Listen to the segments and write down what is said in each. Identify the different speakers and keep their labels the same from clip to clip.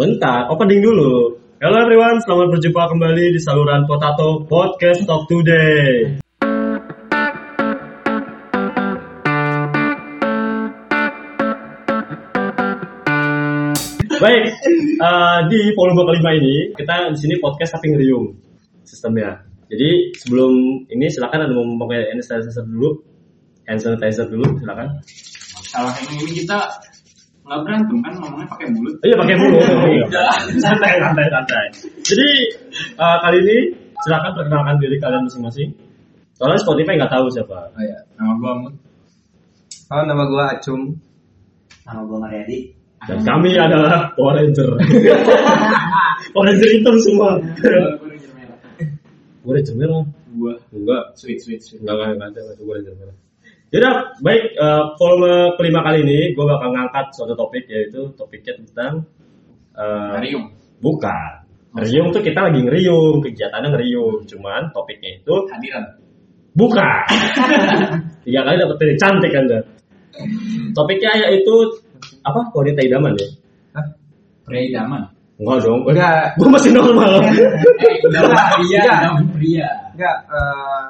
Speaker 1: Bentar, opening dulu. Hello everyone, selamat berjumpa kembali di saluran Potato Podcast Talk Today. Baik, eh, di volume kelima ini kita di sini podcast tapi ngeriung sistemnya. Jadi sebelum ini silakan ada mau memakai hand sanitizer dulu, hand sanitizer dulu silakan.
Speaker 2: salah ini ini kita nggak berantem kan ngomongnya pakai mulut
Speaker 1: Oh, Iya pakai mulut.
Speaker 2: Udah.
Speaker 1: santai santai santai jadi eh, kali ini silakan perkenalkan diri kalian masing-masing soalnya Spotify nggak tahu siapa
Speaker 2: oh, iya. Oh, nama gua Mut
Speaker 3: Halo, nama gue Acung.
Speaker 4: Nama gue Mariadi.
Speaker 1: dan kami adalah Power Ranger Power Ranger hitam semua gue Ranger merah
Speaker 2: gua
Speaker 1: enggak
Speaker 2: sweet sweet sweet
Speaker 1: enggak enggak enggak ada masih gue Ranger merah Yaudah, baik eh, volume kelima kali ini gue bakal ngangkat suatu topik yaitu topiknya tentang eh,
Speaker 2: Arium
Speaker 1: bukan Ngeriung tuh kita lagi ngeriung, kegiatannya ngeriung. Cuman topiknya itu
Speaker 2: hadiran
Speaker 1: Buka. Tiga kali dapat pilih cantik Anda. Topiknya yaitu apa? Wanita idaman ya?
Speaker 2: pria idaman
Speaker 1: Enggak dong. Gue
Speaker 3: Enggak,
Speaker 1: masih normal.
Speaker 2: eh idaman pria
Speaker 3: Iya.
Speaker 2: idaman pria
Speaker 3: enggak, eh,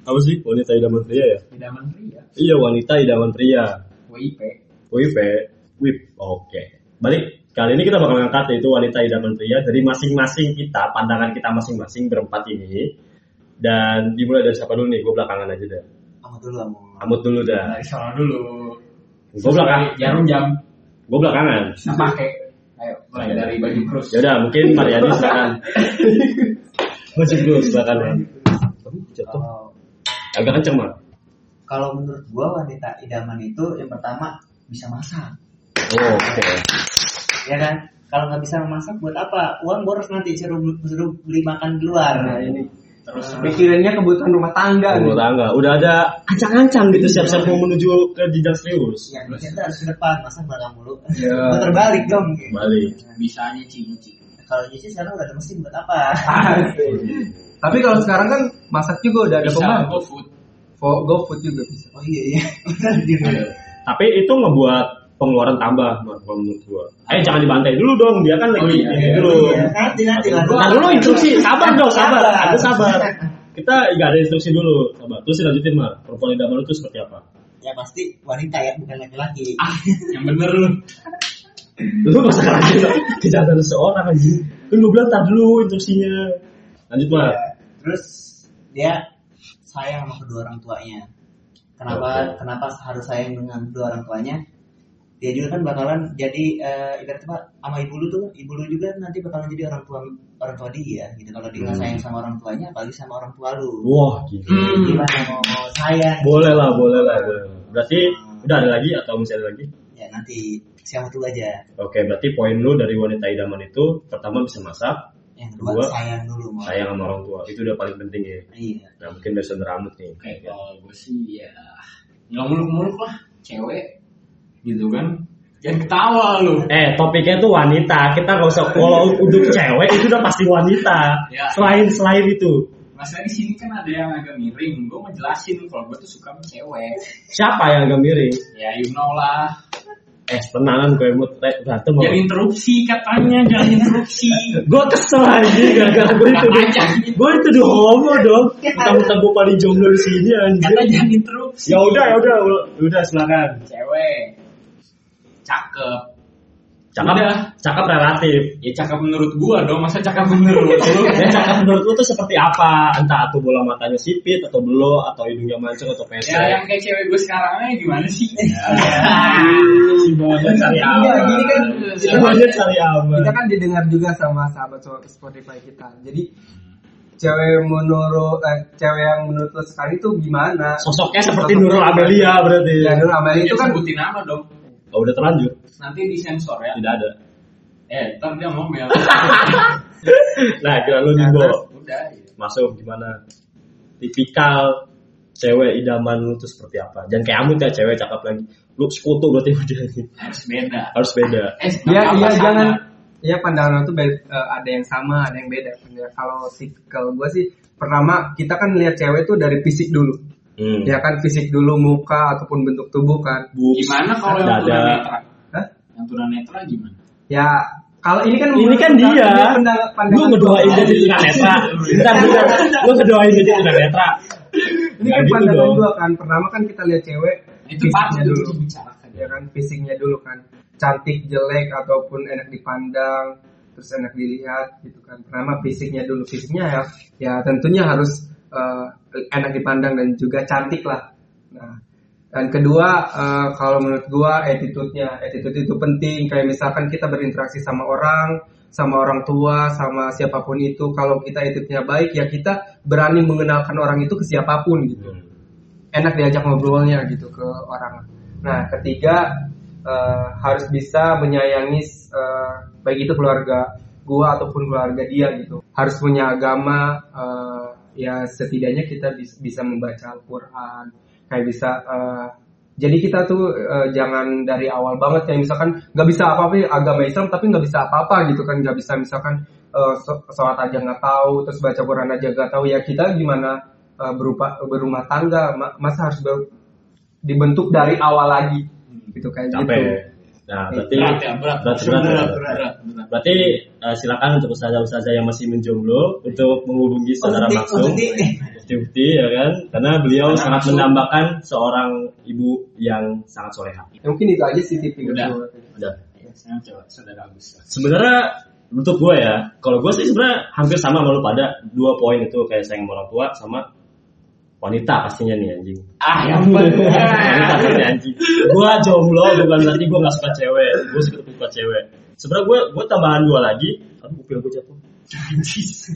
Speaker 1: apa sih wanita idaman pria ya?
Speaker 2: idaman pria
Speaker 1: Iya, wanita idaman pria.
Speaker 2: WIP
Speaker 1: WIP. WIP. Oke. Balik kali ini kita bakal ngangkat yaitu wanita idaman pria dari masing-masing kita, pandangan kita masing-masing berempat ini. Dan dimulai dari siapa dulu nih? Gue belakangan aja deh.
Speaker 4: Kamu dulu kamu.
Speaker 1: Amut dulu dah.
Speaker 2: dari sana Nah, dulu
Speaker 1: Gue belakangan.
Speaker 2: jarum jam
Speaker 1: Gue belakangan.
Speaker 2: kita Nah, pakai ayo mulai dari baju krus
Speaker 1: Ya udah, mungkin Mariani silakan. Masih dulu silakan. Man. Jatuh.
Speaker 4: Kalau
Speaker 1: Agak kenceng mah.
Speaker 4: Oh, kalau menurut gue wanita idaman itu yang pertama bisa masak,
Speaker 1: Oh, oke.
Speaker 4: ya kan? Kalau nggak bisa masak buat apa? Uang boros nanti suruh suruh beli makan di luar.
Speaker 3: nah ini.
Speaker 2: terus
Speaker 1: Ah.
Speaker 3: Mikirinnya kebutuhan rumah tangga
Speaker 2: Kan.
Speaker 1: Umur
Speaker 3: nih.
Speaker 1: tangga. Udah ada ancang-ancang gitu siap-siap mau menuju ke jenjang serius.
Speaker 4: Yang "Ya, kita harus ke depan, masa belakang mulu.
Speaker 3: Iya.
Speaker 4: Gua terbalik dong. gitu.
Speaker 1: Balik.
Speaker 2: bisanya cincin
Speaker 4: Kalau nyuci sekarang udah ada mesin buat apa?
Speaker 3: Asik. Tapi kalau sekarang kan masak juga udah ada
Speaker 2: bisa
Speaker 3: pembantu.
Speaker 2: go food
Speaker 3: Fo- GoFood juga bisa.
Speaker 4: Oh iya iya. Benar juga.
Speaker 1: Tapi itu ngebuat pengeluaran tambah Mat, kalau menurut gua. Eh jangan dibantai dulu dong, dia kan lagi
Speaker 2: Oh, iya,
Speaker 1: ini
Speaker 2: iya.
Speaker 1: dulu.
Speaker 4: Ya, Nanti nanti lah.
Speaker 1: Nah dulu instruksi, sabar dong, sabar. Ada sabar. Kita nggak ada instruksi dulu, sabar. Terus lanjutin mah, perempuan idaman itu seperti apa?
Speaker 4: Ya pasti wanita ya bukan laki-laki.
Speaker 2: Ah, yang bener lu
Speaker 1: lu gak usah ngerasain kejahatan seseorang anjing lu gue bilang tar dulu instruksinya lanjut mah
Speaker 4: Ya, terus dia sayang sama kedua orang tuanya kenapa
Speaker 1: Oke.
Speaker 4: kenapa harus sayang dengan kedua orang tuanya dia juga kan bakalan jadi eh, ibaratnya Pak, sama ibu lu tuh ibu lu juga nanti bakalan jadi orang tua orang tua dia gitu kalau dia nggak
Speaker 1: Hmm.
Speaker 4: sayang sama orang tuanya apalagi sama orang tua lu
Speaker 1: wah gila
Speaker 2: Hmm.
Speaker 4: gimana mau, mau sayang
Speaker 1: boleh lah boleh lah boleh lah. berarti udah ada lagi atau masih ada lagi
Speaker 4: ya nanti siapa dulu aja
Speaker 1: oke berarti poin lu dari wanita idaman itu pertama bisa masak
Speaker 4: yang kedua
Speaker 1: Kedua,
Speaker 4: sayang dulu mau
Speaker 1: sayang sama orang tua itu udah paling penting ya
Speaker 4: iya
Speaker 1: nah mungkin dari saudara amut nih
Speaker 2: Oke,
Speaker 3: Iya.
Speaker 2: kalau gue sih ya nggak muluk-muluk lah, cewek gitu kan. Jangan ketawa lu.
Speaker 1: Eh, topiknya tuh wanita. Kita gak usah kalau untuk cewek itu udah pasti wanita.
Speaker 2: Ya.
Speaker 1: Selain selain itu,
Speaker 2: Masalah di sini kan ada yang agak miring. Gue mau jelasin kalau gue tuh suka sama cewek.
Speaker 1: siapa yang agak miring?
Speaker 2: Ya you know lah.
Speaker 1: Eh, tenangan gue mut Re, berantem
Speaker 2: Jangan interupsi katanya, jangan interupsi.
Speaker 1: Gue kesel aja gara-gara gue itu
Speaker 2: Aja.
Speaker 1: Gue itu di homo dong.
Speaker 3: Ya.
Speaker 1: Mentang-mentang gue paling jomblo di sini anjir.
Speaker 2: Kata jangan interupsi.
Speaker 1: Ya udah, ya udah, udah silakan.
Speaker 2: Cewek cakep.
Speaker 1: Cakap,
Speaker 2: Udah.
Speaker 1: cakap relatif.
Speaker 2: Ya cakep menurut gua dong, masa cakep menurut lu?
Speaker 1: Ya cakap menurut lu tuh seperti apa? Entah atau bola matanya sipit atau belo atau hidungnya mancung atau pesek.
Speaker 2: ya yang kayak cewek gue sekarang aja gimana sih?
Speaker 1: Si bawahnya cari aman.
Speaker 3: Iya, gini kan.
Speaker 1: Si bawahnya cari aman.
Speaker 3: Kita kan didengar juga sama sahabat so- Spotify kita. Jadi cewek menurut eh, cewek yang menurut lo sekarang itu gimana?
Speaker 1: Sosoknya seperti Nurul Amelia Iya, berarti.
Speaker 3: Ya Nur Amelia
Speaker 2: Itu kan
Speaker 3: itu kan
Speaker 2: sebutin nama dong.
Speaker 1: Oh, udah terlanjur.
Speaker 2: Nanti disensor ya.
Speaker 1: Tidak ada.
Speaker 2: Eh, ntar dia ngomel.
Speaker 1: Nah, kira lu nih, Bo.
Speaker 2: Udah. ya.
Speaker 1: masuk gimana tipikal cewek idaman lu tuh seperti apa jangan kayak amut ya cewek cakep lagi lu sekutu berarti udah
Speaker 2: Harus beda.
Speaker 1: harus beda
Speaker 2: Eh,
Speaker 3: Iya,
Speaker 2: apa
Speaker 3: iya
Speaker 2: sama?
Speaker 3: jangan. Iya pandangan itu be- eh, ada yang sama, ada yang beda. Ya, Kalau si kalau gue sih pertama kita kan lihat cewek itu dari fisik dulu.
Speaker 1: hmm.
Speaker 3: Ya kan fisik dulu muka ataupun bentuk tubuh kan.
Speaker 1: Boobs.
Speaker 2: Gimana kalau
Speaker 1: Dada.
Speaker 2: yang tunanetra?
Speaker 3: Hah?
Speaker 2: Yang tunanetra gimana?
Speaker 3: Ya Kalau ini kan
Speaker 1: Ini kan
Speaker 3: menurut
Speaker 1: dia.
Speaker 3: pandangan- pandangan-
Speaker 1: Lu
Speaker 3: pandangan-
Speaker 1: ngedoain jadi tunanetra. Bentar, bentar. Lu ngedoain jadi tunanetra. Nggak
Speaker 3: Ini kan
Speaker 1: gitu
Speaker 3: pandangan
Speaker 1: dong.
Speaker 3: dua kan. Pertama kan kita lihat cewek
Speaker 2: Itu patut
Speaker 3: fisiknya
Speaker 2: untuk
Speaker 3: dulu.
Speaker 2: dibicarakan.
Speaker 3: Ya kan fisiknya dulu kan. Cantik jelek ataupun enak dipandang terus enak dilihat gitu kan. Pertama fisiknya dulu fisiknya ya ya tentunya harus eh, enak dipandang dan juga cantik lah. Nah dan kedua eh, kalau menurut gua attitude-nya attitude itu penting kayak misalkan kita berinteraksi sama orang sama orang tua sama siapapun itu kalau kita attitude-nya baik ya kita berani mengenalkan orang itu ke siapapun gitu enak diajak ngobrolnya gitu ke orang. Nah, ketiga eh, harus bisa menyayangi eh, baik itu keluarga gua ataupun keluarga dia gitu. Harus punya agama eh, ya setidaknya kita bis- bisa membaca Al-Qur'an, kayak bisa eh, jadi kita tuh eh, jangan dari awal banget kayak misalkan nggak bisa apa-apa ya, agama Islam tapi nggak bisa apa-apa gitu kan nggak bisa misalkan eh, so- sholat aja nggak tahu terus baca Quran aja nggak tahu ya kita gimana eh, berupa berumah tangga ma- masa harus ber- dibentuk dari awal lagi
Speaker 2: Hmm.
Speaker 3: gitu kayak
Speaker 1: Capek.
Speaker 2: ya?
Speaker 3: gitu.
Speaker 1: Nah, berarti
Speaker 2: Berat ya, berat.
Speaker 1: berat, berat, berat. Berarti eh, silakan untuk ustazah-ustazah yang masih menjomblo untuk menghubungi saudara
Speaker 4: Untuk-
Speaker 1: Maksum.
Speaker 4: untuk-
Speaker 1: Bukti-bukti ya kan, karena beliau
Speaker 2: Karena
Speaker 1: sangat
Speaker 2: Maksum-
Speaker 1: menambahkan seorang ibu yang sangat soleha.
Speaker 3: Ya, mungkin itu aja sih tipe
Speaker 2: Udah.
Speaker 3: kedua.
Speaker 1: Udah.
Speaker 2: Ya, sekarang coba saudara Agus.
Speaker 1: sebenarnya untuk gue ya kalau gue sih sebenarnya hampir sama sama lu pada dua poin itu kayak sayang sama orang tua sama wanita pastinya nih anjing
Speaker 2: Ah, yang benar.
Speaker 1: wanita pastinya anjing gue jomblo bukan berarti gue nggak suka cewek gue suka suka cewek sebenarnya gue gue tambahan dua lagi aduh kupil gue jatuh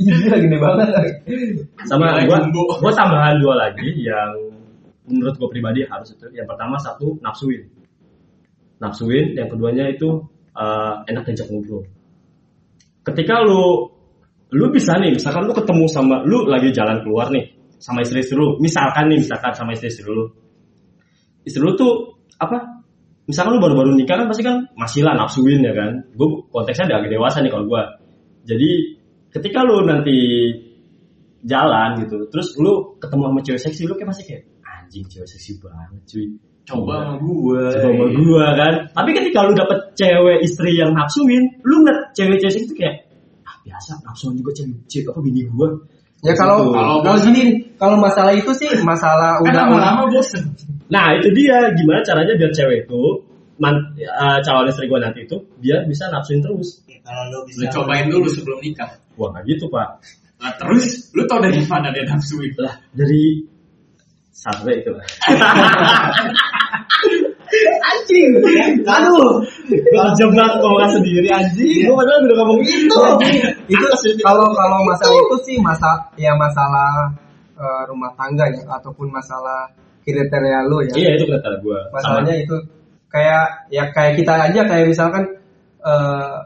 Speaker 3: Iya gede banget.
Speaker 1: sama
Speaker 2: Nilai
Speaker 1: gue
Speaker 2: jumbo.
Speaker 1: gue tambahan dua lagi yang menurut gue pribadi harus itu yang pertama satu nafsuin nafsuin yang keduanya itu eh, enak diajak ngobrol ketika lu lu bisa nih misalkan lu ketemu sama lu lagi jalan keluar nih sama istri istri lu misalkan nih misalkan sama istri istri lu istri lu tuh apa misalkan lu baru-baru nikah kan pasti kan masih lah nafsuin ya kan gue konteksnya udah agak dewasa nih kalau gue jadi ketika lu nanti jalan gitu terus lu ketemu sama cewek seksi lu kayak pasti kayak anjing cewek seksi banget cuy
Speaker 2: Coba sama gue.
Speaker 1: coba sama gua kan tapi ketika lu dapet cewek istri yang nafsuin lu ngeliat cewek-cewek seksi itu kayak ah biasa nafsuin juga cewek cewek apa bini gua
Speaker 3: Ya kalau
Speaker 2: Gitu. Kalau
Speaker 3: kalau gini kalau masalah itu sih masalah
Speaker 2: Kan
Speaker 3: udah
Speaker 2: lama-lama bosen.
Speaker 1: Nah itu dia gimana caranya biar cewek itu man, eh, calon istri gue nanti itu biar bisa nafsuin terus.
Speaker 4: Kalau lu bisa
Speaker 2: Lu cobain dulu sebelum nikah.
Speaker 1: Wah nggak gitu pak.
Speaker 2: Nah, terus lu tau dari mana dia nafsuin?
Speaker 1: Lah dari sampai itu lah.
Speaker 3: anjing. Aduh.
Speaker 1: Terjebak ngomongan sendiri anjing. Gue padahal udah ngomong gitu. itu.
Speaker 3: itu kalau kalau masalah itu sih masa ya masalah eh, rumah tangga ya ataupun masalah kriteria lu ya
Speaker 1: Iya itu kriteria gue.
Speaker 3: masalahnya itu kayak ya kayak kita aja kayak misalkan eh,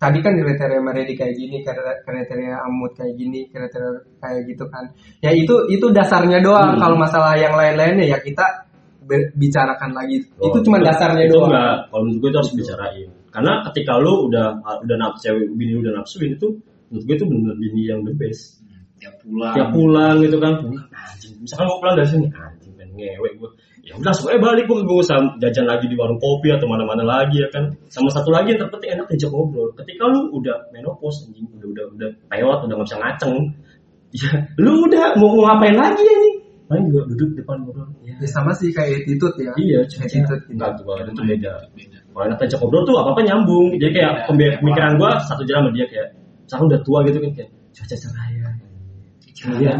Speaker 3: tadi kan kriteria Maredi kayak gini kriteria kriteria Amut kayak gini kriteria kayak gitu kan ya itu itu dasarnya doang kalau masalah yang lain-lainnya ya kita ber- bicarakan lagi Oh, itu cuma dasarnya
Speaker 1: itu
Speaker 3: doang
Speaker 1: enggak, kalau menurut gue itu harus bicarain karena ketika lu udah udah nafsu cewek bini lu udah nafsuin itu menurut gue itu bener bini yang the best
Speaker 2: Tiap pulang.
Speaker 1: tiap pulang gitu kan pulang anjing misalkan gue pulang dari sini anjing pengen ngewek gue ya udah langsung aja balik gue gue jajan lagi di warung kopi atau mana-mana lagi ya kan sama satu lagi yang terpenting enak diajak ngobrol ketika lu udah menopause anjing udah udah udah peot udah nggak bisa ngaceng ya lu udah mau ngapain lagi ya nih paling gue duduk depan ngobrol ya
Speaker 3: ya sama sih kayak attitude ya
Speaker 1: iya cuma cinta
Speaker 3: Attitude gitu.
Speaker 1: enggak tuh kalau itu beda
Speaker 2: Beda.
Speaker 1: kalau enak diajak ngobrol tuh apa apa nyambung jadi kayak
Speaker 2: Iya,
Speaker 1: pembe-
Speaker 2: iya.
Speaker 1: pemikiran gue satu jalan sama dia kayak misalkan udah tua gitu kan kayak cuaca cerah ya
Speaker 2: Jangan.
Speaker 1: Iya.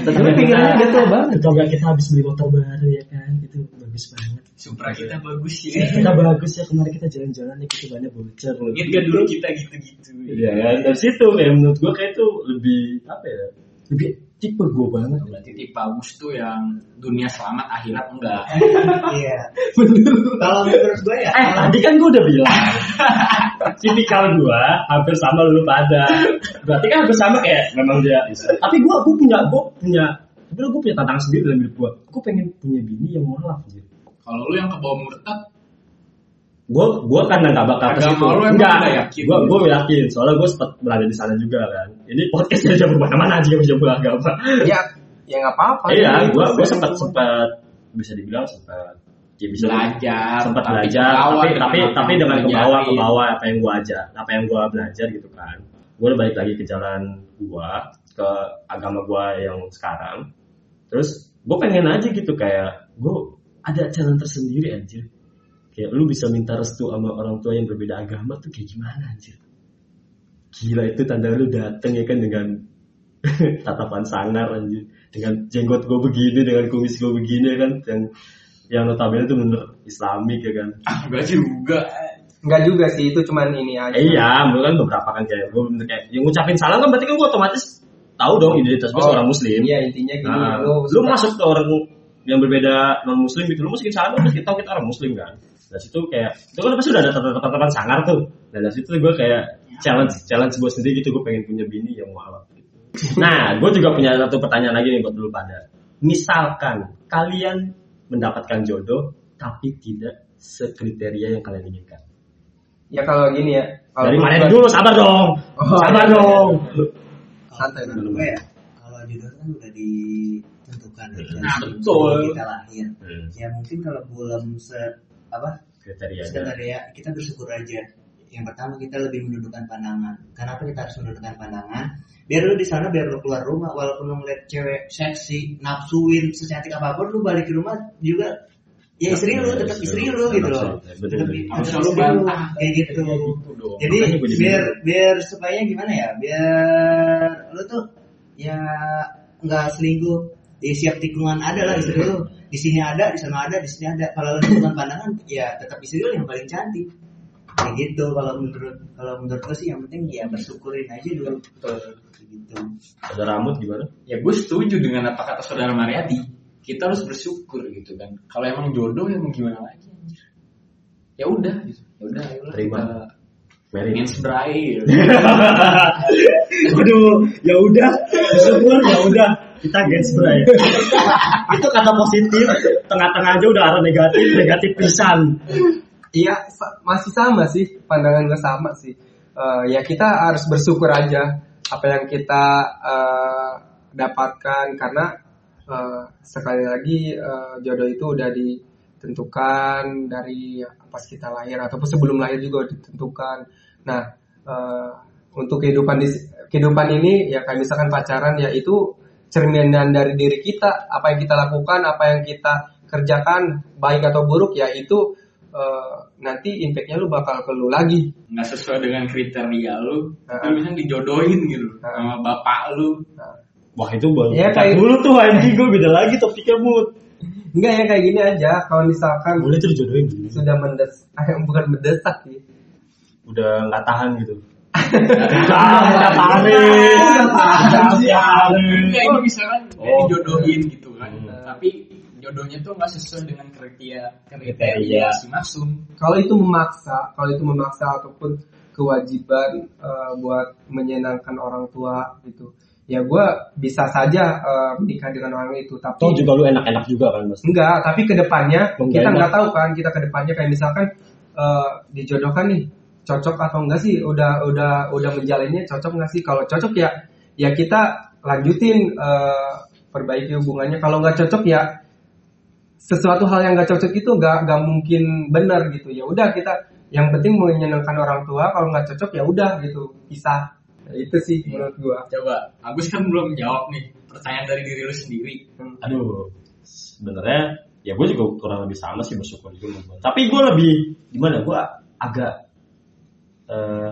Speaker 1: tapi pikirannya gitu, udah tua banget tau gak kita habis beli motor baru ya kan itu bagus banget
Speaker 2: Supra kita bagus ya.
Speaker 1: kita bagus ya kemarin kita jalan-jalan ya kita banyak bocor loh
Speaker 2: Ingat gak dulu kita gitu-gitu.
Speaker 1: iya kan dari situ kayak menurut gua kayak itu lebih apa ya lebih tipe gua banget
Speaker 2: Berarti tipe Agus tuh yang dunia selamat akhirat enggak.
Speaker 4: Iya. Kalau menurut gue ya.
Speaker 1: eh tadi kan gua udah bilang tipikal gua hampir sama lu pada berarti kan hampir sama kayak memang dia tapi gua gua punya gua punya sebenernya gua punya tantangan sendiri dalam hidup gua gua pengen punya bini yang mohon gitu
Speaker 2: Kalau lu yang ke bawah murtad,
Speaker 1: gue gue karena nggak bakal ke
Speaker 2: Agama
Speaker 1: situ
Speaker 2: lu emang
Speaker 1: nggak
Speaker 2: nggak yakin? gitu.
Speaker 1: gue gue yakin soalnya gue sempat berada di sana juga kan ini podcastnya udah kemana-mana aja udah beragama
Speaker 3: ya ya nggak apa-apa
Speaker 1: iya
Speaker 3: Itu
Speaker 1: gue gue
Speaker 3: sih.
Speaker 1: sempat sempat bisa dibilang sempat dia bisa
Speaker 2: belajar
Speaker 1: sempat
Speaker 2: tapi
Speaker 1: Iya. belajar
Speaker 2: ketawa
Speaker 1: tapi
Speaker 2: dengan
Speaker 1: tapi
Speaker 2: apa
Speaker 1: tapi
Speaker 2: yang
Speaker 1: dengan ke
Speaker 2: dipelajarin.
Speaker 1: bawah ke bawah apa yang gua aja apa yang gua belajar gitu kan gua udah balik lagi ke jalan gua ke agama gua yang sekarang terus gua pengen aja gitu kayak gua ada jalan tersendiri anjir kayak lu bisa minta restu sama orang tua yang berbeda agama tuh kayak gimana anjir gila itu tanda lu dateng ya kan dengan tatapan sangar anjir dengan jenggot gue begini dengan kumis gue begini ya kan yang yang notabene tuh bener islamik ya kan
Speaker 2: ah enggak juga
Speaker 3: Enggak juga sih, itu cuman ini aja.
Speaker 1: Eh, iya menurut kan beberapa kan kayak gue bener kayak yang ngucapin salam kan berarti kan gue otomatis tahu dong identitas gue
Speaker 3: Oh,
Speaker 1: seorang muslim
Speaker 3: Iya, intinya gini,
Speaker 1: Nah,
Speaker 3: lu,
Speaker 1: lu masuk ke orang yang berbeda non muslim gitu lu masukin salam terus kita tahu kita orang muslim kan dari situ kayak itu kan pasti udah ada tatapan sangar tuh nah, dari situ gue kayak
Speaker 3: Ya.
Speaker 1: challenge challenge gue sendiri gitu gue pengen punya bini yang mualaf gitu. nah gue juga punya satu pertanyaan lagi nih buat dulu pada misalkan kalian mendapatkan jodoh tapi tidak sekriteria yang kalian inginkan
Speaker 3: ya kalau gini ya. Kalau
Speaker 1: dari
Speaker 3: lu
Speaker 1: mana
Speaker 3: bukan-
Speaker 1: dulu sabar dong
Speaker 3: Oh,
Speaker 1: sabar
Speaker 3: iya, iya,
Speaker 1: dong
Speaker 3: Santai,
Speaker 4: Kalau
Speaker 1: santai.
Speaker 4: menurut gue ya, kalau jodoh kan udah ditentukan ya, dari
Speaker 2: Nah,
Speaker 4: sebelum
Speaker 2: betul.
Speaker 4: kita lahir.
Speaker 1: Hmm,
Speaker 4: Ya mungkin kalau belum se apa
Speaker 1: kriterianya
Speaker 4: sekedar ya kita bersyukur aja. Yang pertama kita lebih menundukkan pandangan. Kenapa kita harus menundukkan pandangan? Biar lu di sana biar lu keluar rumah walaupun lu ngeliat cewek seksi, nafsuin, secantik apapun lu balik ke rumah juga ya istri lu tetap istri lu gitu loh.
Speaker 1: Betul, betul.
Speaker 4: Tetap tetap
Speaker 2: Harus selalu
Speaker 4: istri lu,
Speaker 2: bantah.
Speaker 4: kayak gitu.
Speaker 2: Itu dong
Speaker 4: Jadi
Speaker 1: Makanya gua jadi
Speaker 4: biar biar supaya gimana ya? Biar lu tuh ya nggak selingkuh di siap tikungan ada lah istri lu. Di sini ada, di sana ada, di sini ada. Kalau lu bukan pandangan, ya tetap istri lu yang paling cantik. Kayak gitu kalau menurut kalau menurut gue sih yang penting ya bersyukurin aja dulu. Kayak Gitu.
Speaker 1: ada rambut gimana
Speaker 2: ya gue setuju dengan apa kata saudara Mariati kita harus bersyukur gitu kan kalau emang jodoh ya mau gimana lagi anjir. ya udah gitu ya udah ayolah
Speaker 1: Terima.
Speaker 2: kita
Speaker 1: Mary
Speaker 2: ingin seberair
Speaker 1: Aduh, ya udah, bersyukur ya udah. Kita get spray. Itu kata positif, tengah-tengah aja udah arah negatif, negatif pisan.
Speaker 3: Iya, sa- masih sama sih, pandangan gue sama sih. Eh, ya kita harus bersyukur aja apa yang kita eh, dapatkan karena eh, sekali lagi eh, jodoh itu udah ditentukan dari pas kita lahir ataupun sebelum lahir juga udah ditentukan. Nah, eh, untuk kehidupan di kehidupan ini ya kayak misalkan pacaran ya itu cerminan dari diri kita, apa yang kita lakukan, apa yang kita kerjakan baik atau buruk ya itu eh, nanti impactnya lu bakal ke lu lagi
Speaker 2: nggak sesuai dengan kriteria lu
Speaker 3: Heeh.
Speaker 2: lu bisa dijodohin gitu
Speaker 3: Heeh.
Speaker 2: sama bapak lu
Speaker 1: Wah itu baru.
Speaker 3: Ya, kayak-
Speaker 1: dulu tuh anjing gue beda lagi topiknya mut.
Speaker 3: enggak ya kayak gini aja kalau
Speaker 1: Kan
Speaker 3: misalkan
Speaker 1: Boleh tuh dijodohin dulu.
Speaker 3: sudah mendes eh, bukan mendesak sih
Speaker 1: Udah nggak tahan gitu. Tahan, udah tahanin.
Speaker 2: Enggak, Iya, ini misalkan dia
Speaker 1: Oh.
Speaker 2: dijodohin gitu kan
Speaker 1: Hmm.
Speaker 2: tapi jodohnya tuh nggak sesuai dengan kriteria
Speaker 1: Kriteria.
Speaker 2: kriteria si maksum
Speaker 3: kalau itu memaksa kalau itu memaksa ataupun kewajiban eh, buat menyenangkan orang tua gitu ya gue bisa saja eh, menikah dengan orang itu tapi
Speaker 1: Tuh juga lu enak-enak juga kan mas.
Speaker 3: Enggak, tapi kedepannya
Speaker 1: Enggak
Speaker 3: kita
Speaker 1: enak.
Speaker 3: nggak tahu kan, kita kedepannya kayak misalkan eh, dijodohkan nih, cocok atau enggak sih? Udah udah udah menjalannya cocok nggak sih? Kalau cocok ya ya kita lanjutin eh, perbaiki hubungannya. Kalau nggak cocok ya sesuatu hal yang nggak cocok itu nggak nggak mungkin benar gitu. Ya udah kita yang penting menyenangkan orang tua. Kalau nggak cocok ya udah gitu, pisah. Nah, Itu sih menurut gua.
Speaker 2: coba Agus kan belum jawab nih pertanyaan dari diri lu sendiri
Speaker 1: aduh sebenarnya ya gue juga kurang lebih sama sih bersyukur juga sama gua. tapi gue lebih gimana gue agak eh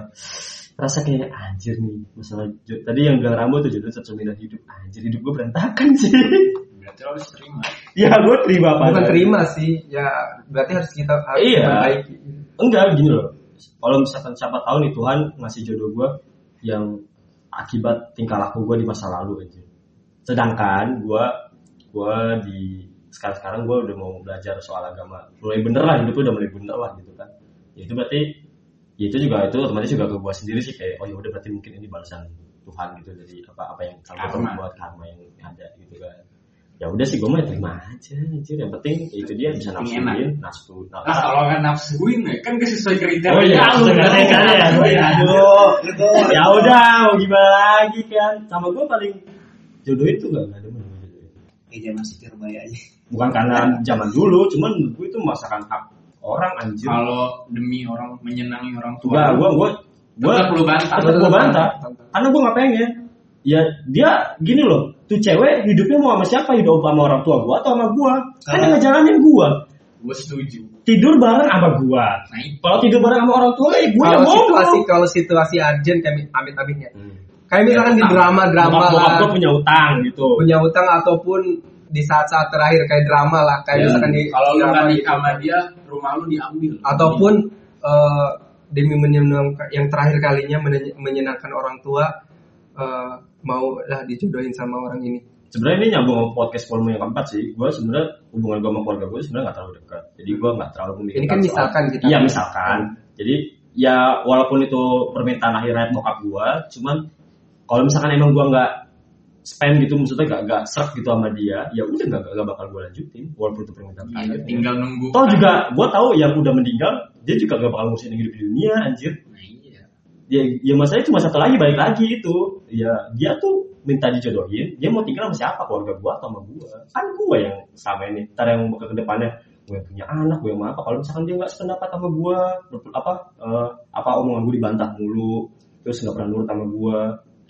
Speaker 1: rasa kayak anjir nih masalah jo- tadi yang bilang rambut tuh jodoh cerminan hidup anjir hidup gue berantakan sih
Speaker 2: berarti lo harus terima
Speaker 1: ya gue terima apa
Speaker 3: Bukan
Speaker 1: adanya.
Speaker 3: terima sih, ya berarti harus kita harus
Speaker 1: Iya.
Speaker 3: memperbaiki.
Speaker 1: enggak gini loh kalau misalkan siapa tahu nih Tuhan ngasih jodoh gue yang akibat tingkah laku gue di masa lalu aja sedangkan gue gue di sekarang sekarang gue udah mau belajar soal agama mulai bener lah hidup udah mulai bener lah gitu kan ya itu berarti ya itu juga itu otomatis juga ke gue sendiri sih kayak oh ya udah berarti mungkin ini balasan Tuhan gitu dari apa apa yang kalau gue
Speaker 2: Karma.
Speaker 1: buat karma yang ada gitu kan ya udah sih gue mah terima aja anjir yang penting ya itu dia bisa
Speaker 2: Yang
Speaker 1: nafsuin
Speaker 2: enak.
Speaker 1: nafsu
Speaker 2: Nah,
Speaker 1: nafsu
Speaker 2: kalau nggak nafsuin ya, kan gak sesuai kriteria.
Speaker 1: Oh iya,
Speaker 2: lu
Speaker 1: sebenarnya
Speaker 2: kan?
Speaker 1: kan ya.
Speaker 2: Iya.
Speaker 1: Aduh. Ya udah, mau gimana lagi kan? Sama gue paling jodoh itu gak ada mana.
Speaker 4: Kayak zaman setir aja.
Speaker 1: bukan karena zaman dulu cuman menurut gue itu masakan hak orang anjir
Speaker 2: Kalau demi orang menyenangi orang tua,
Speaker 1: Enggak, gue gue gue
Speaker 2: tetap lu bantah.
Speaker 1: tetap gue bantah karena gue nggak pengen ya dia gini loh tuh cewek hidupnya mau sama siapa hidup sama orang tua gue atau sama gue kan
Speaker 4: Karena-
Speaker 1: dia ngejalanin gue
Speaker 2: Gue setuju.
Speaker 1: tidur bareng sama gue
Speaker 2: Nah, itu.
Speaker 1: kalau tidur bareng sama orang tua ya gue yang
Speaker 3: kalau
Speaker 1: ngomong
Speaker 3: situasi kalau situasi urgent kami amit-amitnya
Speaker 1: Hmm.
Speaker 2: Iya,
Speaker 3: kayak misalkan di
Speaker 2: Utang.
Speaker 3: drama drama
Speaker 1: Bokap-
Speaker 3: lah
Speaker 1: bokap gue punya utang gitu
Speaker 3: punya utang ataupun di saat-saat terakhir kayak drama lah kayak
Speaker 2: Ya,
Speaker 3: misalkan di
Speaker 2: kalau lu
Speaker 3: drama
Speaker 2: nggak
Speaker 3: gitu.
Speaker 2: nikah sama dia, rumah lu diambil.
Speaker 3: ataupun eh, demi menyenangkan yang terakhir kalinya menyen- menyenangkan orang tua eh, mau lah dijodohin sama orang ini
Speaker 1: sebenarnya ini nyambung sama podcast volume yang keempat sih gue sebenarnya hubungan gue sama keluarga gue sebenarnya nggak terlalu dekat jadi gue nggak terlalu memikirkan
Speaker 3: Ini kan
Speaker 1: soal-
Speaker 3: misalkan kita-
Speaker 1: iya misalkan jadi ya walaupun itu permintaan akhirnya bokap gue cuman kalau misalkan emang gue nggak spend gitu maksudnya nggak nggak serak gitu sama dia ya udah nggak nggak bakal gue lanjutin walaupun itu permintaan
Speaker 2: Iya,
Speaker 1: terakhir
Speaker 2: tinggal nunggu. kan.
Speaker 1: toh Oh, juga gue tahu yang udah meninggal dia juga nggak bakal ngurusin hidup di dunia anjir
Speaker 2: Nah, iya.
Speaker 1: ya, ya masalahnya cuma satu lagi balik lagi itu ya dia tuh minta dijodohin dia mau tinggal sama siapa keluarga gua atau sama gua kan gua yang sama ini ntar yang ke kedepannya gue yang punya anak gue yang mau apa kalau misalkan dia nggak sependapat sama gua ber- apa eh, apa omongan gua dibantah mulu terus nggak pernah nurut sama gua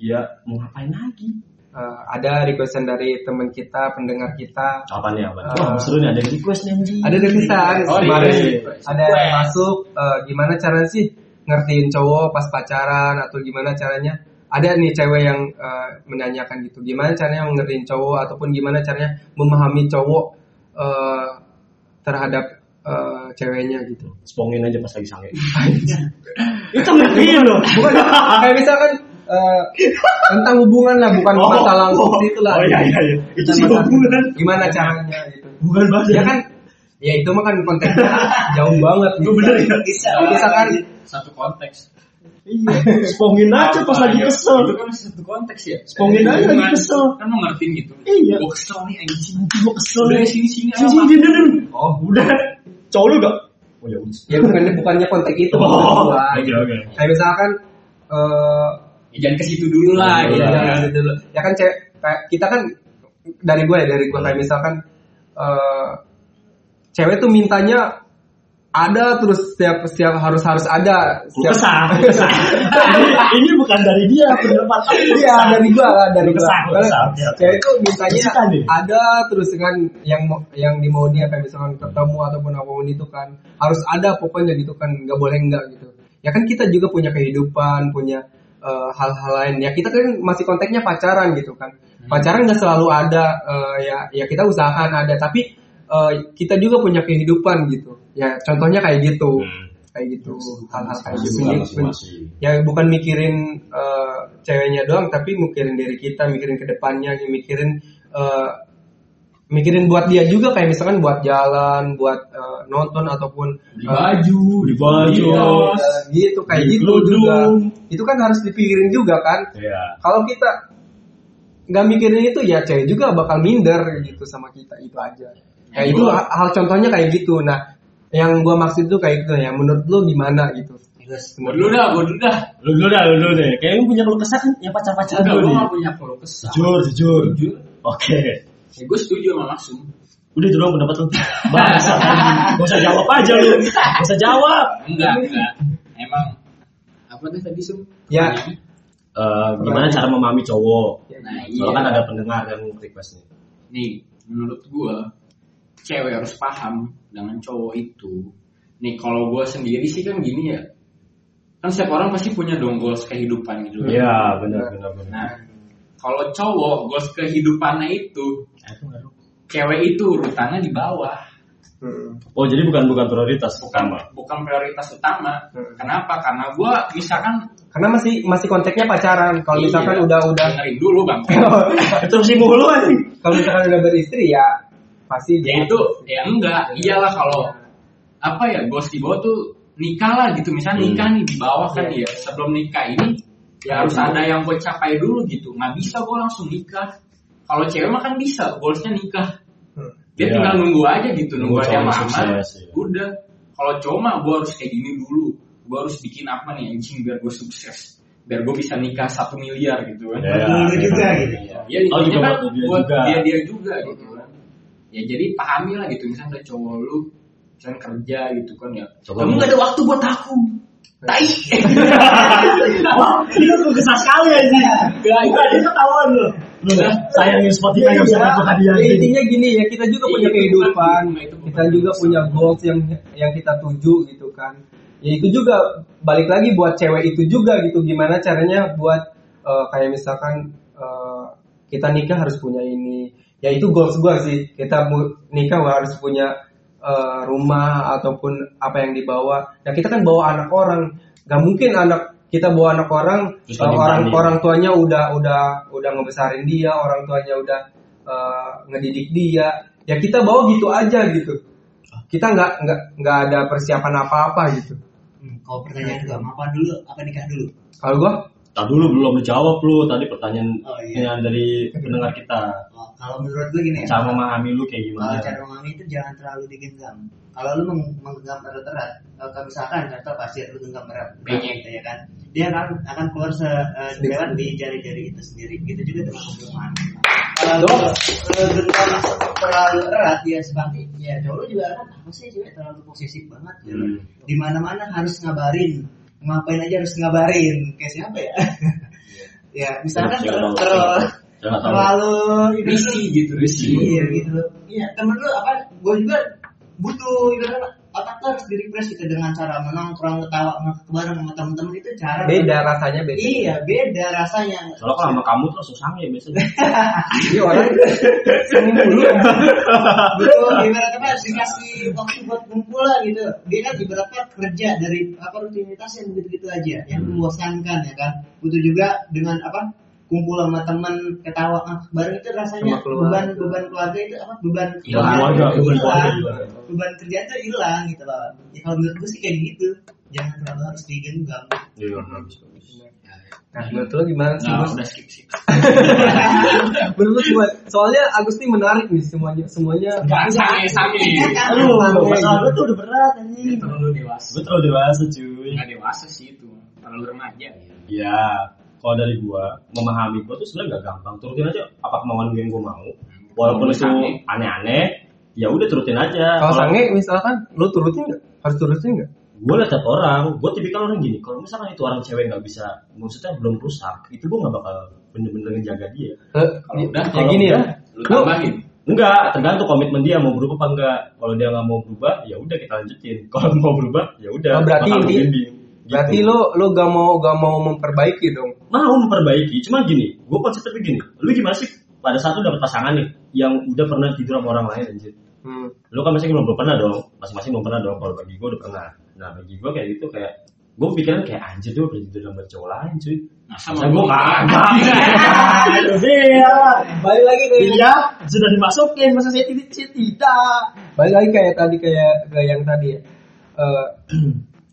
Speaker 1: dia mau ngapain lagi
Speaker 3: Eh, ada requestan dari teman kita pendengar kita
Speaker 1: kapan ya bang
Speaker 3: Eh.
Speaker 1: wah seru nih ada yang request nih anjing.
Speaker 3: ada requestan
Speaker 1: iya.
Speaker 2: Oh,
Speaker 3: kemarin
Speaker 2: request.
Speaker 3: ada yang masuk eh, gimana caranya sih ngertiin cowok pas pacaran atau gimana caranya ada nih cewek yang eh, menanyakan gitu gimana caranya ngertiin cowok ataupun gimana caranya memahami cowok eh, terhadap eh, ceweknya gitu
Speaker 1: spongin aja pas lagi sange itu ngertiin loh
Speaker 3: bukan kayak misalkan eh, tentang hubungan lah bukan
Speaker 1: Oh,
Speaker 3: masalah
Speaker 1: oh,
Speaker 3: itu lah
Speaker 1: oh, iya, iya, iya. Itu sih
Speaker 3: Tentang masalah
Speaker 1: hubungan.
Speaker 3: gimana caranya gitu
Speaker 1: bukan bahasa
Speaker 3: ya kan ya itu mah kan konteksnya jauh banget gitu.
Speaker 1: bener ya
Speaker 4: bisa
Speaker 3: misalkan
Speaker 2: Satu konteks.
Speaker 1: Iya, spongin aja pas lagi kesel.
Speaker 2: Itu kan satu konteks ya.
Speaker 1: Spongin aja lagi
Speaker 2: Kan-
Speaker 1: kesel.
Speaker 2: Kan mau ngertiin gitu.
Speaker 1: Iya.
Speaker 2: Gue kesel nih anjing.
Speaker 1: Nanti gua kesel
Speaker 2: Udah
Speaker 1: nih.
Speaker 2: sini sini
Speaker 1: Sini sini dia dulu. Oh, udah. Cowok lu gak? Oh ya udah.
Speaker 3: ya bukan bukannya konteks itu
Speaker 1: Oh,
Speaker 3: maksud gua.
Speaker 1: oke oke.
Speaker 3: kayak misalkan eh
Speaker 2: Ya, Jangan ke situ dulu lah.
Speaker 1: Iya,
Speaker 2: gitu
Speaker 3: ya,
Speaker 2: kan.
Speaker 3: gitu dulu. ya kan cewek kayak kita kan dari gue ya dari gue kayak misalkan eh cewek tuh mintanya ada terus setiap setiap harus harus ada
Speaker 1: Lu
Speaker 3: setiap
Speaker 1: kesah, lu kesah. Ini, ini bukan dari dia pendapat. Lu
Speaker 3: Iya
Speaker 1: kesah.
Speaker 3: dari gua lah dari
Speaker 1: Lu
Speaker 3: gua.
Speaker 1: kesah, lu
Speaker 3: Karena
Speaker 1: kesah. Iya, oke.
Speaker 3: Cewek itu mintanya
Speaker 1: Kesukaan nih.
Speaker 3: ada terus dengan yang mau- yang di mau dia kayak misalkan ketemu ataupun apapun itu kan harus ada pokoknya gitu kan nggak boleh enggak gitu. Ya kan kita juga punya kehidupan punya eh, hal-hal lain ya kita kan masih konteksnya pacaran gitu kan
Speaker 1: Hmm.
Speaker 3: pacaran nggak selalu ada eh, ya ya kita usahakan ada tapi eh, kita juga punya kehidupan gitu ya contohnya kayak gitu
Speaker 1: Hmm.
Speaker 3: kayak gitu hal-hal kayak gitu
Speaker 1: kan Masing-masing.
Speaker 3: Jadi, ben- ya bukan mikirin eh, ceweknya doang tapi mikirin diri kita mikirin kedepannya mikirin eh, mikirin buat dia juga kayak misalkan buat jalan buat eh, nonton ataupun
Speaker 2: Beli
Speaker 3: eh,
Speaker 2: baju,
Speaker 1: Beli baju.
Speaker 2: kaos.
Speaker 3: jalan gitu kayak
Speaker 1: Beli
Speaker 3: gitu
Speaker 1: kerudung.
Speaker 3: juga itu kan harus dipikirin juga kan
Speaker 1: Iya.
Speaker 3: kalau kita nggak mikirin itu ya cewek juga bakal minder gitu sama kita itu aja
Speaker 2: Ya,
Speaker 3: kayak itu
Speaker 2: gua-
Speaker 3: hal hal contohnya kayak gitu nah yang gua maksud tuh kayak gitu ya menurut lu gimana gitu
Speaker 2: Iya. Gua dulu dah, gua dulu dah.
Speaker 1: Lu dulu dah, lu dulu deh. Kayaknya lu punya keluh kesah kan yang pacar-pacaran
Speaker 2: Enggak,
Speaker 1: dulu
Speaker 2: gue
Speaker 1: nih.
Speaker 2: gak punya kalau kesal.
Speaker 1: Jujur, jujur.
Speaker 2: Jujur.
Speaker 1: Oke.
Speaker 2: Ya, gue setuju sama langsung.
Speaker 1: Udah itu doang pendapat lu. Bangsa. Gak usah jawab aja lu. Gak usah jawab.
Speaker 2: Enggak, enggak. Emang apa tuh tadi sum?
Speaker 3: Ya.
Speaker 1: Eh, gimana cara memahami cowok?
Speaker 2: Nah, iya.
Speaker 1: Soalnya kan ada pendengar yang request nih.
Speaker 2: Nih, menurut gua cewek harus paham dengan cowok itu. Nih, kalau gua sendiri sih kan gini ya. Kan setiap orang pasti punya dong goals kehidupan gitu. kan.
Speaker 1: Iya, benar benar benar.
Speaker 2: Nah, kalau cowok goals kehidupannya itu,
Speaker 1: Nah,
Speaker 2: cewek itu urutannya di bawah.
Speaker 3: Hmm.
Speaker 1: Oh, jadi bukan bukan prioritas utama.
Speaker 2: Bukan prioritas utama.
Speaker 3: Hmm.
Speaker 2: Kenapa? Karena gua kan, misalkan
Speaker 3: Karena masih masih konteksnya pacaran. Kalau
Speaker 2: Iya.
Speaker 3: misalkan udah udah
Speaker 2: dengerin dulu bang.
Speaker 1: Terus sih mulu anjing.
Speaker 3: kalau misalkan udah beristri ya pasti
Speaker 2: ya itu ya enggak iyalah kalau apa ya bos di bawah tuh nikah lah gitu misalnya
Speaker 1: Hmm.
Speaker 2: nikah nih di bawah kan ya sebelum nikah ini ya harus ada yang gue capai dulu gitu nggak bisa gue langsung nikah kalau cewek mah kan bisa goalsnya nikah
Speaker 3: Hmm.
Speaker 2: dia
Speaker 1: Iya.
Speaker 2: tinggal nunggu aja gitu nunggu
Speaker 1: Nunggu
Speaker 2: ada yang
Speaker 1: cowok
Speaker 2: lama
Speaker 1: sukses, iya.
Speaker 2: udah kalau cowok mah gue harus kayak gini dulu gue harus bikin apa nih anjing biar gue sukses biar gue bisa nikah satu miliar gitu kan
Speaker 1: Iya,
Speaker 4: Dulu juga
Speaker 1: iya.
Speaker 4: gitu.
Speaker 2: Ya, intinya
Speaker 1: Oh, juga
Speaker 2: kan
Speaker 1: buat dia
Speaker 2: buat
Speaker 1: juga.
Speaker 2: dia dia juga gitu kan. ya jadi pahami lah gitu misalnya ada cowok lu misalnya kerja gitu kan ya
Speaker 1: Coba
Speaker 2: kamu
Speaker 1: lu-
Speaker 2: gak ada waktu buat aku tai
Speaker 1: Wah, itu tuh kesal sekali ya ini.
Speaker 2: Gak, itu
Speaker 1: Tadi ketahuan loh.
Speaker 2: Nah,
Speaker 1: Sayangin Spotify nggak bisa dapat hadiah.
Speaker 3: Ya, intinya gini ya kita juga
Speaker 2: Iya,
Speaker 3: punya
Speaker 2: itu
Speaker 3: kehidupan
Speaker 2: bukan- itu bukan
Speaker 3: kita juga
Speaker 2: masalah.
Speaker 3: punya goals yang yang kita tuju gitu kan ya itu juga balik lagi buat cewek itu juga gitu gimana caranya buat eh, kayak misalkan eh, kita nikah harus punya ini ya itu goals gua sih kita mu- nikah harus punya eh, rumah ataupun apa yang dibawa nah kita kan bawa anak orang gak mungkin anak kita bawa anak orang
Speaker 1: Terus
Speaker 3: eh,
Speaker 1: lebih
Speaker 3: orang
Speaker 1: banding.
Speaker 3: orang tuanya udah udah udah ngebesarin dia, orang tuanya udah eh, ngedidik dia. Ya kita bawa gitu aja gitu. Kita nggak nggak nggak ada persiapan apa-apa gitu.
Speaker 4: Hmm, kalau pertanyaan gua, mau apa dulu? Apa nikah dulu?
Speaker 3: Kalau gua
Speaker 1: Tadi dulu belum dijawab lu tadi pertanyaan
Speaker 4: Oh, iya.
Speaker 1: pertanyaan dari pendengar kita.
Speaker 4: Oh, kalau menurut gua gini ya.
Speaker 1: Cara memahami lu kayak
Speaker 3: Iya.
Speaker 4: Kalau
Speaker 1: gimana?
Speaker 4: cara memahami itu jangan terlalu digenggam. Kalau lu meng- menggenggam erat erat, kalau misalkan contoh pasir lu genggam erat,
Speaker 2: Benyek.
Speaker 4: gitu ya kan, dia akan akan keluar se eh,
Speaker 3: Iya. Sedikit.
Speaker 4: lewat di jari-jari itu sendiri. Gitu juga dengan hubungan. Kalau lu, lu genggam terlalu erat ya sebagai ya cowok lu juga kan apa sih cewek terlalu posesif banget ya.
Speaker 1: Hmm.
Speaker 4: Di mana-mana harus ngabarin, ngapain aja harus ngabarin. Kayak siapa
Speaker 3: Iya.
Speaker 4: ya? ya misalkan
Speaker 1: Jangan
Speaker 4: terlalu
Speaker 1: tahu.
Speaker 4: terlalu-
Speaker 3: Iya,
Speaker 1: Jangan tahu.
Speaker 4: terlalu ini
Speaker 2: risi gitu risi
Speaker 4: Iya gitu. Iya temen lu apa? Gue juga butuh ibaratnya otak lu harus di refresh gitu dengan cara menongkrong ketawa ngakak bareng sama temen-temen itu cara
Speaker 3: beda rasanya beda.
Speaker 4: Iya beda rasanya.
Speaker 1: Soalnya kalau sama kamu tuh susah ya biasanya.
Speaker 3: Ini orang seneng dulu.
Speaker 4: Betul, ibaratnya harus dikasih waktu buat kumpul lah gitu. Dia kan ibaratnya kerja dari apa rutinitas yang begitu-gitu aja, yang
Speaker 1: Hmm.
Speaker 4: membosankan ya kan. Butuh juga dengan apa kumpul sama teman ketawa ngakak bareng itu rasanya
Speaker 3: Sama keluarga.
Speaker 4: beban beban keluarga itu apa beban
Speaker 1: Iya, keluarga, beban keluarga
Speaker 4: hilang.
Speaker 1: juga.
Speaker 4: beban kerjaan tuh hilang gitu loh. Ya, kalau menurut gue sih kayak gitu. Jangan terlalu harus digenggam.
Speaker 1: Iya, bagus, bagus.
Speaker 3: Nah, menurut lu gimana sih?
Speaker 2: nah
Speaker 3: Gus?
Speaker 2: udah skip skip
Speaker 3: Menurut lu gimana? Soalnya Agus nih menarik nih semuanya semuanya.
Speaker 2: Gak, sange sange
Speaker 1: Iya.
Speaker 4: Aduh,
Speaker 3: Aduh,
Speaker 4: Kan, masalah
Speaker 3: gitu.
Speaker 4: lu tuh udah berat anjing.
Speaker 2: terlalu
Speaker 1: Gue
Speaker 2: dewasa
Speaker 1: Iya, terlalu dewasa cuy.
Speaker 2: nggak dewasa sih itu terlalu remaja
Speaker 1: Ya, kalau dari gua memahami gua tuh sebenarnya nggak gampang. Turutin aja apa kemauan gue yang gua mau. Walaupun itu
Speaker 2: Sange.
Speaker 1: aneh-aneh, ya udah turutin aja.
Speaker 3: Kalau sange misalkan lu turutin nggak? Harus turutin nggak?
Speaker 1: gue liat liat orang, gue tipikal orang gini, kalau misalkan itu orang cewek nggak bisa, maksudnya belum rusak, itu gue nggak bakal bener-bener ngejaga dia.
Speaker 3: Eh,
Speaker 2: Kalau udah, gitu.
Speaker 3: ya
Speaker 1: kalau
Speaker 3: gini ya.
Speaker 1: udah,
Speaker 2: lu tambahin
Speaker 1: Enggak, tergantung komitmen dia mau berubah apa enggak. Kalau dia nggak mau berubah, ya udah kita lanjutin. Kalau mau berubah, ya udah.
Speaker 3: Oh, berarti
Speaker 1: bakal
Speaker 3: inti-
Speaker 1: bimbing. Gitu.
Speaker 3: Berarti lu lu gak mau gak mau memperbaiki dong.
Speaker 1: mau memperbaiki, cuma gini, gue konsepnya begini, lu gimana sih pada saat lu dapet pasangan nih, yang udah pernah tidur sama orang lain anjir.
Speaker 3: Hmm.
Speaker 1: lu kan masih belum, belum pernah dong masing-masing belum pernah dong kalau bagi gue udah pernah nah bagi gue kayak gitu kayak gue pikiran kayak anjir dia udah tidur sama cowok lain cuy
Speaker 2: Nah,
Speaker 1: masa gue kagak Itu dia
Speaker 3: Balik lagi ke
Speaker 1: dia Iya, sudah dimasukin masa saya tidak saya tidak
Speaker 3: balik lagi kayak tadi kayak kayak yang tadi ya. Eh,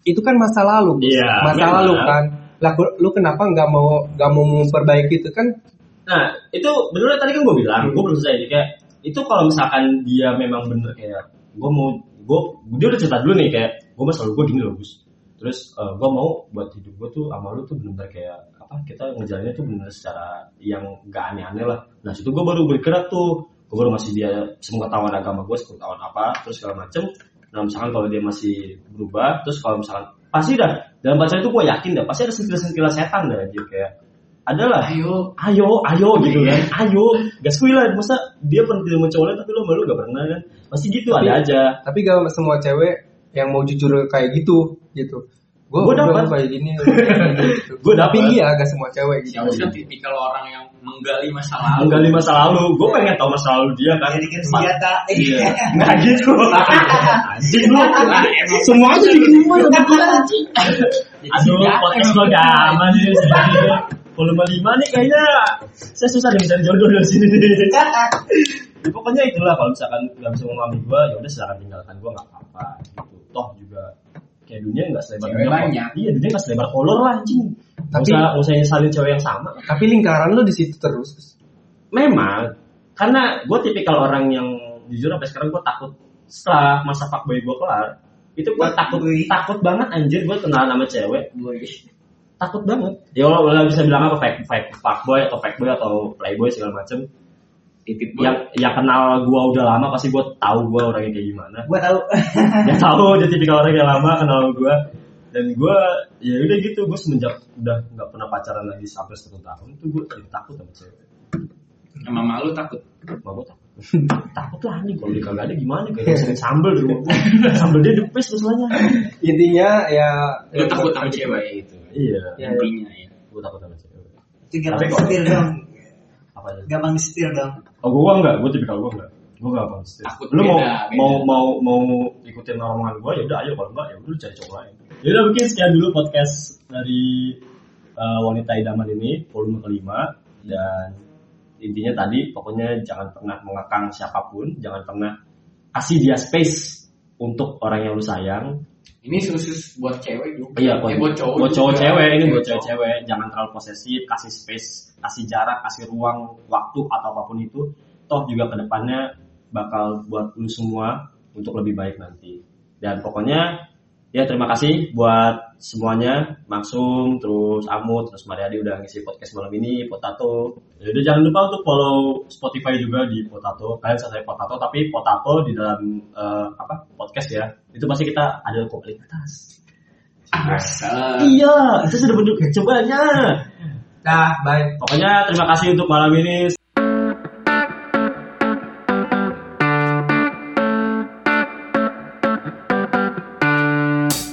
Speaker 3: itu kan masa lalu Gus.
Speaker 1: Iya,
Speaker 3: masa
Speaker 1: memang.
Speaker 3: lalu kan lah lu- lu kenapa nggak mau nggak mau memperbaiki itu kan
Speaker 1: nah itu bener tadi kan gue bilang gue belum selesai kayak itu kalau misalkan dia memang bener kayak gue mau gue dia udah cerita dulu nih kayak gue masalah gue gini loh Gus terus gue mau buat hidup gue tuh sama lu tuh bener kayak apa kita ngejalannya tuh bener secara yang gak aneh-aneh lah nah situ gue baru bergerak tuh gue baru masih dia sepengetahuan agama gue sepengetahuan apa terus segala macem nah misalkan kalau dia masih berubah terus kalau misalkan pasti dah dalam bacaan itu gue yakin dah pasti ada sentilan-sentilan setan dah dia kayak adalah
Speaker 2: ayo
Speaker 1: ayo ayo gitu kan ayo gak sekali lah masa dia pernah tidur sama cowok lain tapi lo malu gak pernah kan pasti gitu ada aja
Speaker 3: tapi gak semua cewek yang mau jujur kayak gitu gitu gue
Speaker 1: Gua dapet.
Speaker 3: kayak gini gitu.
Speaker 1: Gua dapet.
Speaker 3: tapi iya gak semua cewek gitu
Speaker 2: siapa sih tipikal orang yang menggali masa lalu
Speaker 1: menggali masa lalu gue pengen tahu masa lalu dia kan
Speaker 4: Jadikan
Speaker 1: Ma-
Speaker 2: ya.
Speaker 4: senjata.
Speaker 1: iya nah gitu anjing lu semua aja bikin gue yang bikin anjing aduh podcast gue gak aman nih sebenarnya volume 5 nih kayaknya saya susah nih mencari jodoh dari sini nih. Ya, pokoknya itulah kalau misalkan nggak bisa memahami gue ya udah silakan tinggalkan gue nggak apa-apa gitu toh juga kayak dunia nggak selebar
Speaker 2: Cewek
Speaker 1: dunia
Speaker 2: banyak.
Speaker 1: iya dunia nggak selebar kolor lah anjing nggak
Speaker 3: Tapi-
Speaker 1: usah nggak usah nyesalin cewek yang sama
Speaker 3: tapi lingkaran lu di situ terus
Speaker 1: memang karena gue tipikal orang yang jujur sampai sekarang gue takut setelah masa fuckboy gue kelar itu gue takut
Speaker 4: Fuckboy.
Speaker 1: takut banget anjir gue kenalan sama cewek
Speaker 2: Boy.
Speaker 1: takut banget ya lo, lo bisa bilang apa fake fake fuckboy atau fake boy atau playboy segala macem
Speaker 2: titit
Speaker 1: yang
Speaker 2: buat
Speaker 1: yang kenal gua udah lama pasti gua tahu gua orangnya kayak gimana
Speaker 4: Gua tahu.
Speaker 1: dia tahu dia tipikal orang yang lama kenal gua dan gua ya udah gitu gua semenjak udah nggak pernah pacaran lagi sampai satu tahun tuh gua jadi takut sama cewek
Speaker 2: sama mama lu takut
Speaker 1: Mak gua takut takut lah nih kalau dia kagak ada gimana kayak sering sambel di rumah gua sambel dia depes masalahnya
Speaker 3: Intinya ya
Speaker 2: lu Iya,
Speaker 3: ya,
Speaker 2: takut sama cewek itu
Speaker 1: iya
Speaker 3: Ya,
Speaker 2: intinya ya
Speaker 1: gua takut sama cewek
Speaker 4: Itu gampang
Speaker 1: Tapi kok-
Speaker 4: setir dong.
Speaker 1: apa aja
Speaker 4: Gampang setir dong.
Speaker 1: Oh gua enggak, gua tipikal gua enggak. Gua enggak bang stres.
Speaker 2: Takut
Speaker 1: Lu
Speaker 2: beda,
Speaker 1: mau
Speaker 2: beda.
Speaker 1: mau mau mau ikutin omongan gua ya udah ayo kalau enggak ya udah lu cari cowok lain. Ya udah mungkin sekian dulu podcast dari eh, wanita idaman ini volume kelima dan intinya tadi pokoknya jangan pernah mengekang siapapun, jangan pernah kasih dia space untuk orang yang lu sayang.
Speaker 2: ini khusus buat cewek juga
Speaker 1: Iya, buat,
Speaker 2: Eh, buat cowok
Speaker 1: buat
Speaker 2: juga. Iya,
Speaker 1: cowok cewek ini buat cewek
Speaker 2: cowok.
Speaker 1: cewek jangan terlalu posesif, kasih space, kasih jarak, kasih ruang, waktu atau apapun itu. Toh juga kedepannya bakal buat lu semua untuk lebih baik nanti. Dan pokoknya ya terima kasih buat semuanya, Maksum, terus Amut, terus Mariadi udah ngisi podcast malam ini, Potato. Ya udah jangan lupa untuk follow Spotify juga di Potato. Kalian selesai Potato tapi Potato di dalam eh, apa podcast ya. Itu pasti kita ada kualitas.
Speaker 2: Asal.
Speaker 1: Iya, itu sudah bentuk cobanya.
Speaker 3: Dah, Nah, bye.
Speaker 1: Pokoknya terima kasih untuk malam ini.